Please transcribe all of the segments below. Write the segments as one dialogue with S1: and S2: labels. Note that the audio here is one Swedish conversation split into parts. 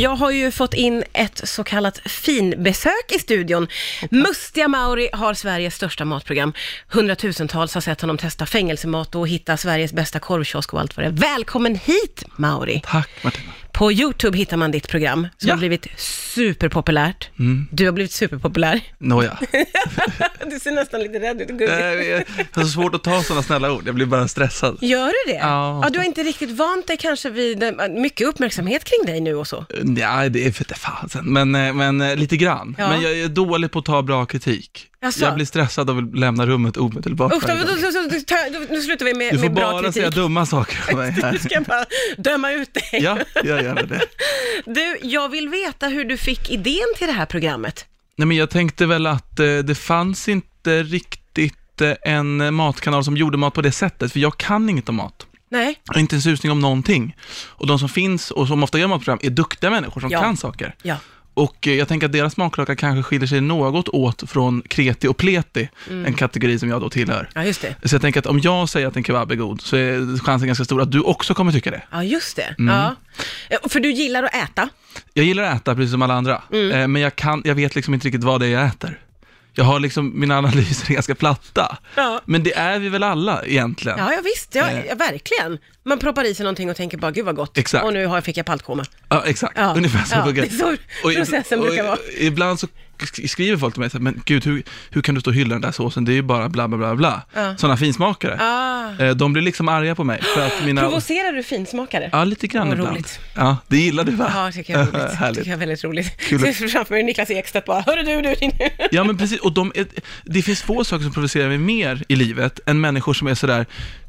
S1: Jag har ju fått in ett så kallat finbesök i studion. Mustiga Mauri har Sveriges största matprogram. Hundratusentals har sett honom testa fängelsemat och hitta Sveriges bästa korvkiosk och allt vad det är. Välkommen hit Mauri!
S2: Tack Martina.
S1: På YouTube hittar man ditt program som
S2: Ja. Mm.
S1: har blivit superpopulärt. Du har blivit superpopulär.
S2: Nåja.
S1: Du ser nästan lite rädd ut,
S2: Nej,
S1: gullig.
S2: Det är så svårt att ta sådana snälla ord, jag blir bara stressad.
S1: Gör du det?
S2: Ja.
S1: ja. Du har inte riktigt vant dig kanske vid eh, mycket uppmärksamhet kring dig nu och så.
S2: Nej, det är för det fasen, men, eh, men eh, lite grann.
S1: Ja.
S2: Men jag är dålig på att ta bra kritik.
S1: Jaså?
S2: Jag blir stressad och vill lämna rummet omedelbart.
S1: Usch, då,
S2: varje
S1: då,
S2: gång.
S1: då, då, då, nu slutar vi med,
S2: du får
S1: med bra
S2: bara
S1: kritik.
S2: säga dumma saker om mig
S1: Nu
S2: här.
S1: ska jag bara döma ut dig.
S2: Ja, jag gör det.
S1: Du, jag vill veta hur du fick idén till det här programmet.
S2: Nej, men jag tänkte väl att eh, det fanns inte riktigt eh, en matkanal som gjorde mat på det sättet, för jag kan inget om mat.
S1: Nej,
S2: Jag har inte en susning om någonting. Och de som finns och som ofta gör matprogram är duktiga människor som
S1: Ja.
S2: kan saker.
S1: ja.
S2: Och eh, jag tänker att deras smaklökar kanske skiljer sig något åt från kreti och pleti,
S1: Mm.
S2: en kategori som jag då tillhör.
S1: Ja, just det.
S2: Så jag tänker att om jag säger att en kebab är god, så är chansen ganska stor att du också kommer tycka det.
S1: Ja, just det.
S2: Mm.
S1: Ja. Eh, För du gillar att äta.
S2: Jag gillar att äta precis som alla andra,
S1: Mm.
S2: eh, men jag, kan, jag vet liksom inte riktigt vad det är jag äter. Jag har liksom, mina analyser är ganska platta.
S1: Ja.
S2: Men det är vi väl alla egentligen?
S1: Ja, ja visst. Ja,
S2: Eh.
S1: ja, verkligen. Man proppar i sig någonting och tänker bara, gud vad gott.
S2: Exakt.
S1: Och nu har jag- fick jag paltkoma.
S2: Ja, exakt.
S1: Ja.
S2: Ungefär så
S1: Ja,
S2: funkar
S1: det är så
S2: Och ib-
S1: processen
S2: och
S1: brukar
S2: i-
S1: vara.
S2: Ibland så sk- skriver folk till mig så här, men gud, hur, hur kan du stå och hylla den där såsen? Det är ju bara bla, bla, bla, bla.
S1: Ja.
S2: Sådana finsmakare.
S1: Ah.
S2: Eh, De blir liksom arga på mig för att mina...
S1: Provocerar du finsmakare?
S2: Ja, lite grann
S1: Vad
S2: ibland.
S1: roligt.
S2: Ja, det gillar du va?
S1: Ja, tycker jag är roligt.
S2: Härligt.
S1: tycker jag är väldigt roligt.
S2: Kul att-
S1: Ser framför mig Niklas Ekstedt bara, hörru du, du, din...
S2: Ja, men precis. Och de är, det finns få saker som provocerar mig mer i livet än människor som är sådär,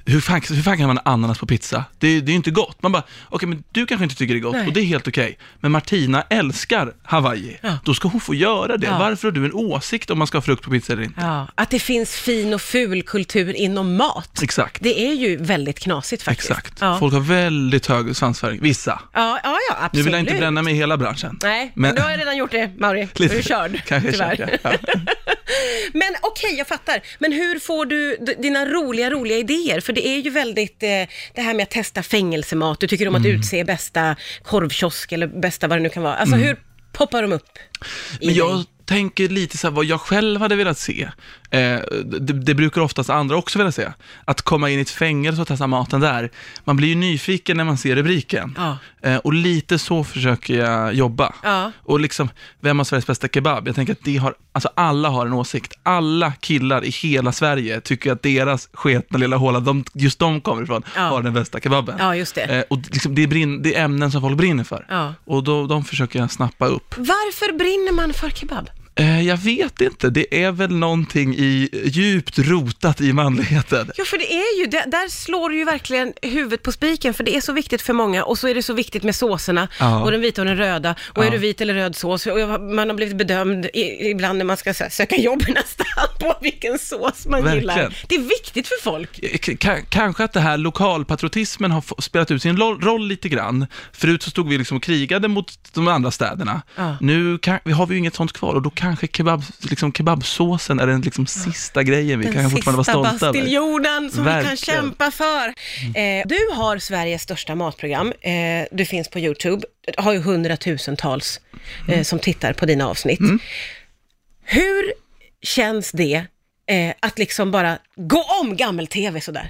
S2: hur fan, hur fan kan man ha ananas på pizza? Det, är- det är ju inte gott. Man bara, okej, men du kanske inte tycker det är gott
S1: Nej.
S2: och det är helt okej. Men Martina älskar Hawaii.
S1: Ja.
S2: Då ska hon få göra det.
S1: Ja.
S2: Varför har du en åsikt om man ska ha frukt på pizza eller inte?
S1: Ja, att det finns fin och ful kultur inom mat.
S2: Exakt.
S1: Det är ju väldigt knasigt faktiskt.
S2: Exakt.
S1: Ja,
S2: Folk har väldigt hög svansföring. Vissa.
S1: ja, ja, ja absolut.
S2: Nu vill jag inte bränna mig i hela branschen.
S1: Nej, men du har ju redan gjort det, Mauri. Du är körd,
S2: Kanske
S1: tyvärr.
S2: körd, ja. Ja.
S1: Men okej, jag fattar. Men hur får du d- dina roliga, roliga idéer? För det är ju väldigt, eh, det här med att testa fängelsemat, du tycker om
S2: Mm.
S1: att utse bästa korvkiosk eller bästa vad det nu kan vara. Alltså hur poppar de upp? i
S2: Mm. Men jag
S1: dig?
S2: tänker lite så här vad jag själv hade velat se. Eh, det, det brukar oftast andra också vilja se. Att komma in i ett fängelse och testa maten där. Man blir ju nyfiken när man ser rubriken.
S1: Ja.
S2: Eh, och lite så försöker jag jobba.
S1: Ja.
S2: Och liksom, vem har Sveriges bästa kebab? Jag tänker att det har, alltså alla har en åsikt. Alla killar i hela Sverige tycker att deras sketna lilla håla, de, just de kommer ifrån,
S1: Ja.
S2: har den bästa kebaben.
S1: Ja, just det.
S2: Eh, och liksom, det, är brinn, det är ämnen som folk brinner för.
S1: Ja.
S2: Och då, de försöker jag snappa upp.
S1: Varför brinner man för kebab?
S2: Eh, Jag vet inte, det är väl någonting i, djupt rotat i manligheten.
S1: Ja, för det är ju, där, där slår du ju verkligen huvudet på spiken, för det är så viktigt för många och så är det så viktigt med såserna
S2: Ja.
S1: och den vita och den röda och är
S2: Ja.
S1: du vit eller röd sås och jag- man har blivit bedömd i, ibland när man ska så här, söka jobb nästan på vilken sås man
S2: Verkligen.
S1: gillar. Det är viktigt för folk.
S2: Eh, k- ka- Kanske att det här lokalpatriotismen har f- spelat ut sin lo- roll lite grann. Förut så stod vi liksom och krigade mot de andra städerna.
S1: Ja.
S2: Nu kan, vi har vi ju inget sånt kvar och då kanske kebab, liksom kebabsåsen är den liksom sista grejen vi kan
S1: den
S2: fortfarande
S1: sista
S2: vara stolta över.
S1: bastiljonen som vi kan
S2: Verkligen. Mm.
S1: kämpa för. Eh, du har Sveriges största matprogram, eh, du finns på YouTube, Du har ju hundratusentals eh,
S2: Mm.
S1: som tittar på dina avsnitt. Hur känns det eh, att liksom bara gå om gammel-tv sådär?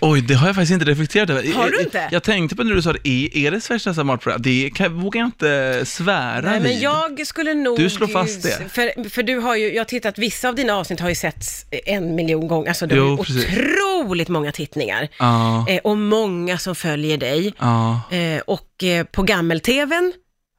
S2: Oj, det har jag faktiskt inte reflekterat över.
S1: Har du
S2: Jag-
S1: inte?
S2: Jag tänkte på när du sa det, är, är det Sveriges största matprogram? Det kan, vågar jag inte svära
S1: Nej, men
S2: vid.
S1: jag skulle nog...
S2: Du slår fast det.
S1: För, för du har ju, jag har tittat, vissa av dina avsnitt har ju setts en miljon gånger, alltså det är ju
S2: Jo, precis.
S1: otroligt många tittningar.
S2: Ja,
S1: Eh, och många som följer dig.
S2: ja.
S1: Eh, och eh, på gammel-tvn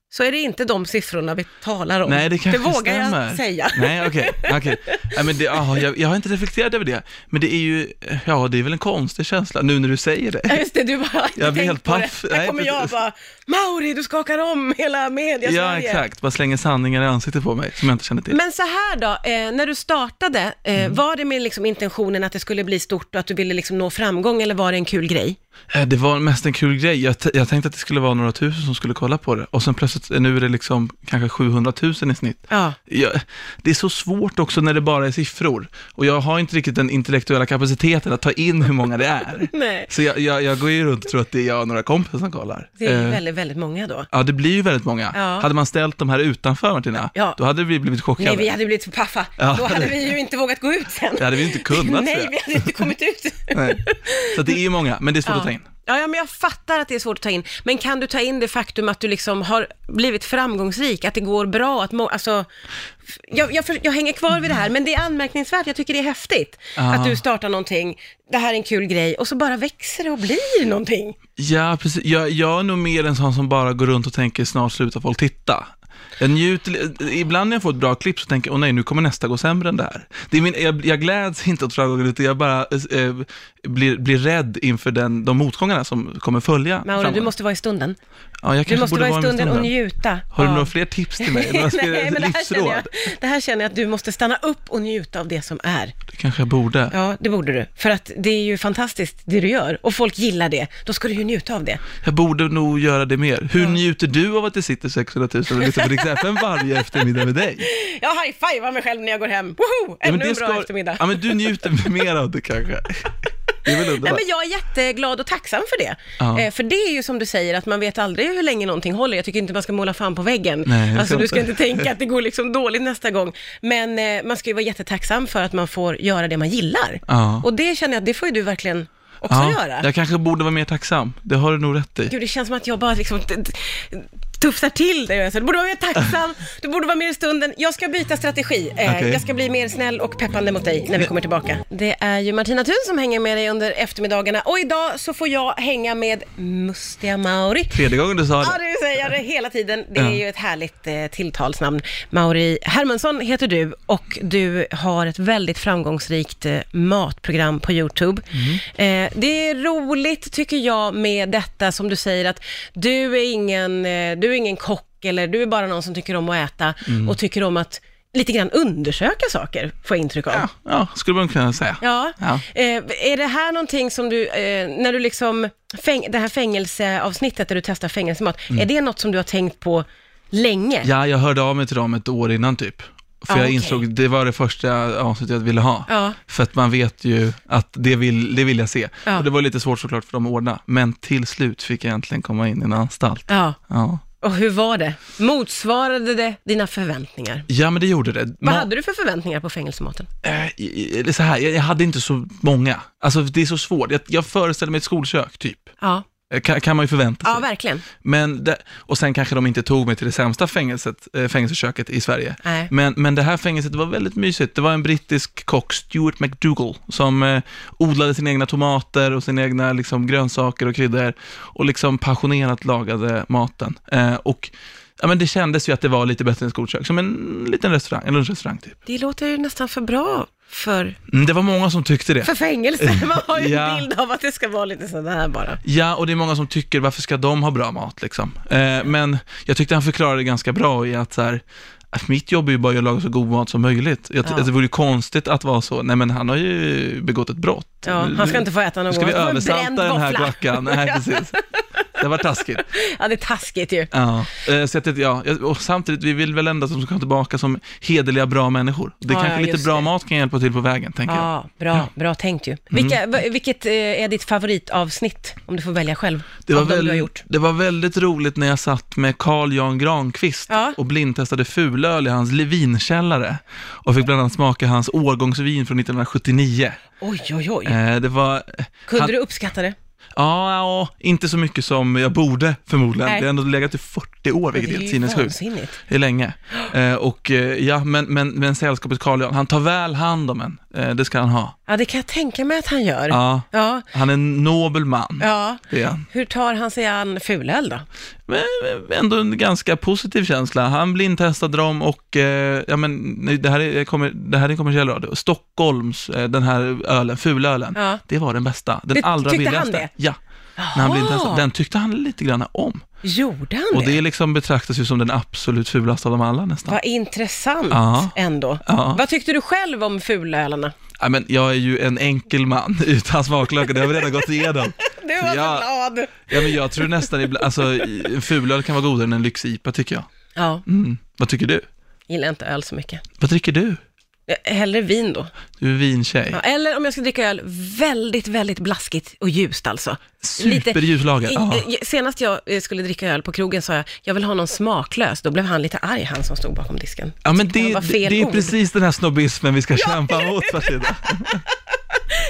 S1: så är det inte de siffrorna vi talar om.
S2: Nej, det kanske
S1: vågar
S2: stämmer.
S1: jag säga.
S2: Nej, okej. Okay, men det, jaha, jag, jag har inte reflekterat över det, men det är ju, ja, det är väl en konstig känsla nu när du säger
S1: Ja,
S2: det.
S1: Just det, du bara inte
S2: Jag
S1: tänkt
S2: blir helt
S1: på
S2: paff.
S1: Det. Här
S2: Nej,
S1: kommer jag
S2: precis.
S1: bara, Mauri, du skakar om hela media
S2: Ja, exakt. Bara slänger sanningar i ansiktet på mig som jag inte känner till.
S1: Men så här då, eh, när du startade,
S2: Mm.
S1: eh, var det med liksom intentionen att det skulle bli stort och att du ville liksom nå framgång eller var det en kul grej?
S2: Eh, Det var mest en kul grej. Jag, t- jag tänkte att det skulle vara några tusen som skulle kolla på det och sen plötsligt, eh, nu är det liksom kanske 700 000 i snitt.
S1: Ja.
S2: Jag, det är så svårt också när det bara är siffror och jag har inte riktigt den intellektuella kapaciteten att ta in hur många det är.
S1: Nej.
S2: Så jag, jag, jag går ju runt och tror att det är jag och några kompisar som kollar.
S1: Det är
S2: Eh,
S1: väldigt, väldigt många då.
S2: Ja, det blir ju väldigt många.
S1: Ja.
S2: Hade man ställt de här utanför, Martina,
S1: Ja.
S2: då hade vi blivit chockade.
S1: Nej, vi hade blivit för paffa.
S2: Ja.
S1: Då hade vi ju inte vågat gå ut sen.
S2: Det hade vi inte kunnat, tror
S1: Nej,
S2: jag.
S1: vi hade inte kommit ut.
S2: Nej. Så att det är ju många, men det är svårt att ta in.
S1: Ja, ja, men jag fattar att det är svårt att ta in. Men kan du ta in det faktum att du liksom har blivit framgångsrik, att det går bra, att må- alltså, f- jag, jag, för- jag hänger kvar vid det här, men det är anmärkningsvärt, jag tycker det är häftigt
S2: Ja.
S1: att du startar någonting, det här är en kul grej, och så bara växer det och blir någonting.
S2: Ja, precis. Jag, jag är nog mer en sån som bara går runt och tänker snart slutar folk titta. Jag njuter, li- ibland när jag får ett bra klipp så tänker jag, åh nej, nu kommer nästa gå sämre än det här. Det är min, jag, jag gläds inte åt framgången, utan jag bara eh, blir, blir rädd inför den, de motgångarna som kommer följa.
S1: Mauro, du
S2: framgången.
S1: måste vara i stunden.
S2: ja, jag
S1: Du
S2: kanske
S1: måste
S2: borde
S1: vara i
S2: med
S1: stunden och njuta.
S2: Har du
S1: av-
S2: några fler tips till mig? Några fler
S1: Nej, men det här, känner jag,
S2: livsråd?
S1: det här känner jag att du måste stanna upp och njuta av det som är.
S2: Det kanske jag borde.
S1: Ja, det borde du. För att det är ju fantastiskt det du gör och folk gillar det. Då ska du ju njuta av det.
S2: Jag borde nog göra det mer. Hur njuter du av att det sitter 600 000 och lyssnar på Rix FM varje eftermiddag med dig?
S1: Jag high-fivar mig själv när jag går hem. Woho! Ännu en bra eftermiddag.
S2: Ja, men du njuter mer av det kanske. Det är väl
S1: Nej,
S2: underbart.
S1: men jag är jätteglad och tacksam för det.
S2: Ja.
S1: Eh, för det är ju som du säger, att man vet aldrig hur länge någonting håller. Jag tycker inte man ska måla fan på väggen.
S2: Nej, jag
S1: alltså,
S2: ska
S1: du ska
S2: inte.
S1: inte tänka att det går liksom dåligt nästa gång. Men eh, man ska ju vara jättetacksam för att man får göra det man gillar.
S2: Ja.
S1: Och det känner jag att det får ju du verkligen också göra.
S2: jag kanske borde vara mer tacksam. Det har du nog rätt i.
S1: Gud, det känns som att jag bara liksom t- t- tufsar till dig. Så Du borde vara mer tacksam, du borde vara mer i stunden. Jag ska byta strategi. Eh,
S2: Okej.
S1: Jag ska bli mer snäll och peppande mot dig när vi kommer tillbaka. Det är ju Martina Thun som hänger med dig under eftermiddagarna och idag så får jag hänga med Mustiga Mauri.
S2: Tredje gången du sa
S1: Ja,
S2: det.
S1: du säger det hela tiden. Det är
S2: Ja.
S1: ju ett härligt eh, tilltalsnamn. Mauri Hermansson heter du och du har ett väldigt framgångsrikt eh, matprogram på YouTube.
S2: Mm.
S1: Eh, det är roligt, tycker jag, med detta som du säger att du är ingen, eh, du är ingen kock eller du är bara någon som tycker om att äta
S2: Mm.
S1: och tycker om att lite grann undersöka saker, får jag intryck av.
S2: Ja, ja, skulle man kunna säga.
S1: Ja.
S2: Ja.
S1: Eh, är det här någonting som du, eh, när du liksom, fäng, det här fängelseavsnittet där du testar fängelsemat, är det något som du har tänkt på länge?
S2: Mm. Ja, jag hörde av mig till dem ett år innan typ. För
S1: Ah,
S2: jag
S1: okej.
S2: insåg, det var det första avsnittet jag ville ha.
S1: Ja.
S2: För att man vet ju att det vill, det vill jag se.
S1: Ja.
S2: Och det var lite svårt såklart för dem att ordna. Men till slut fick jag äntligen komma in i en anstalt.
S1: Ja.
S2: Ja,
S1: Och hur var det? Motsvarade det dina förväntningar?
S2: ja men det gjorde det.
S1: Vad
S2: Ma-
S1: hade du för förväntningar på fängelsematen?
S2: Eh, i- i- så här, jag jag hade inte så många. Alltså det är så svårt. Jag, jag föreställer mig ett skolkök, typ.
S1: Ja,
S2: Eh, Kan, kan man ju förvänta sig.
S1: ja verkligen.
S2: men det, och sen kanske de inte tog mig till det sämsta fängelset, eh, fängelseköket i Sverige.
S1: Nej.
S2: Men, men det här fängelset var väldigt mysigt. Det var en brittisk kock, Stuart McDougall, som eh, odlade sina egna tomater och sina egna liksom, grönsaker och kryddor och liksom passionerat lagade maten. Eh, och ja, men det kändes ju att det var lite bättre än skolkök, som en liten restaurang, en lunchrestaurang typ.
S1: Det låter ju nästan för bra för,
S2: Mm, det var många som tyckte det.
S1: för fängelse. Man har ju en
S2: Ja.
S1: bild av att det ska vara lite sådär bara.
S2: Ja, och det är många som tycker, varför ska de ha bra mat liksom? Eh, men jag tyckte han förklarade det ganska bra i att så här, att mitt jobb är ju bara att laga så god mat som möjligt. Jag,
S1: Ja.
S2: alltså, Det vore ju konstigt att vara så, nej men han har ju begått ett brott.
S1: Ja, han ska inte få äta
S2: Mm. Nu
S1: någon
S2: ska vi
S1: gång. Han får en
S2: översalta
S1: bränd
S2: den här
S1: våffla.
S2: klockan. Nej, precis. Det var taskigt.
S1: Ja, det är taskigt ju.
S2: Ja. eh, Så att, det- ja, och samtidigt, vi vill väl ändå att de ska komma tillbaka som hederliga, bra människor.
S1: Ja,
S2: Det kanske
S1: ja,
S2: lite
S1: just
S2: bra
S1: det.
S2: mat kan hjälpa till på vägen, tänker jag.
S1: Ja, bra, bra tänkt ju. Vilka, va- vilket eh, är ditt favoritavsnitt, om du får välja själv,
S2: Det var,
S1: av de du har
S2: väldigt,
S1: gjort?
S2: det var väldigt roligt när jag satt med Carl Jan Granqvist
S1: Ja.
S2: och blindtestade fulöl i hans vinkällare och fick bland annat smaka hans årgångsvin från 1979.
S1: Oj, oj, oj.
S2: Eh, det var...
S1: Kunde
S2: han-
S1: du uppskatta det?
S2: Ja, ja, inte så mycket som jag borde förmodligen.
S1: Nej.
S2: Det har ändå legat i 40 år,
S1: Det
S2: vilket är
S1: är
S2: helt
S1: ju
S2: sinnessjukt.
S1: vansinnigt.
S2: Det är länge. Eh, och eh, ja, men, men, men sällskapet Carl Jan, han tar väl hand om en. Eh, det ska han ha.
S1: Ja, det kan jag tänka mig att han gör.
S2: Ja,
S1: Ja,
S2: han är en nobel man.
S1: ja.
S2: Det är han.
S1: Hur tar han sig an fulöl då?
S2: Men ändå en ganska positiv känsla. Han blindtestade dem och, eh, ja men nej, det här är, kommer, det här är kommersiell radio. Stockholms, eh, den här ölen, fulölen,
S1: Ja.
S2: det var den bästa. Den
S1: Det-
S2: allra
S1: tyckte han
S2: billigaste.
S1: det?
S2: Ja, när han
S1: Jaha.
S2: blindtestade. Den tyckte han lite grann om.
S1: Gjorde han
S2: Och
S1: det?
S2: det liksom betraktas ju som den absolut fulaste av dem alla nästan.
S1: Vad intressant
S2: Ja.
S1: ändå.
S2: Ja.
S1: Vad tyckte du själv om fulölarna?
S2: Ja, men jag är ju en enkel man utan smaklökar, det har vi redan gått igenom.
S1: Du var
S2: Ja.
S1: så glad.
S2: Ja, men jag tror nästan ibland, alltså en fulöl kan vara godare än en lyxipa tycker jag.
S1: Ja,
S2: Mm. Vad tycker du?
S1: gillar inte öl så mycket.
S2: Vad dricker du?
S1: Eh, Hellre vin då.
S2: Du är vintjej.
S1: Ja, eller om jag ska dricka öl, väldigt, väldigt blaskigt och ljust alltså. Lite-
S2: Superljuslager. Ah. Ja.
S1: I- eh, Senast jag eh, skulle dricka öl på krogen sa jag, jag vill ha någon smaklös. Då blev han lite arg, han som stod bakom disken.
S2: Ja, men
S1: det
S2: det,
S1: var fel
S2: det, det är
S1: ord.
S2: precis den här snobbismen vi ska kämpa mot, Farshida.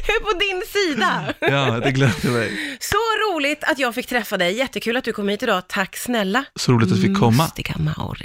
S1: Jag är på din sida!
S2: Ja, det glömde mig.
S1: Så roligt att jag fick träffa dig. Jättekul att du kom hit idag. Tack snälla.
S2: Så roligt att vi fick komma.
S1: Mustiga Mauri.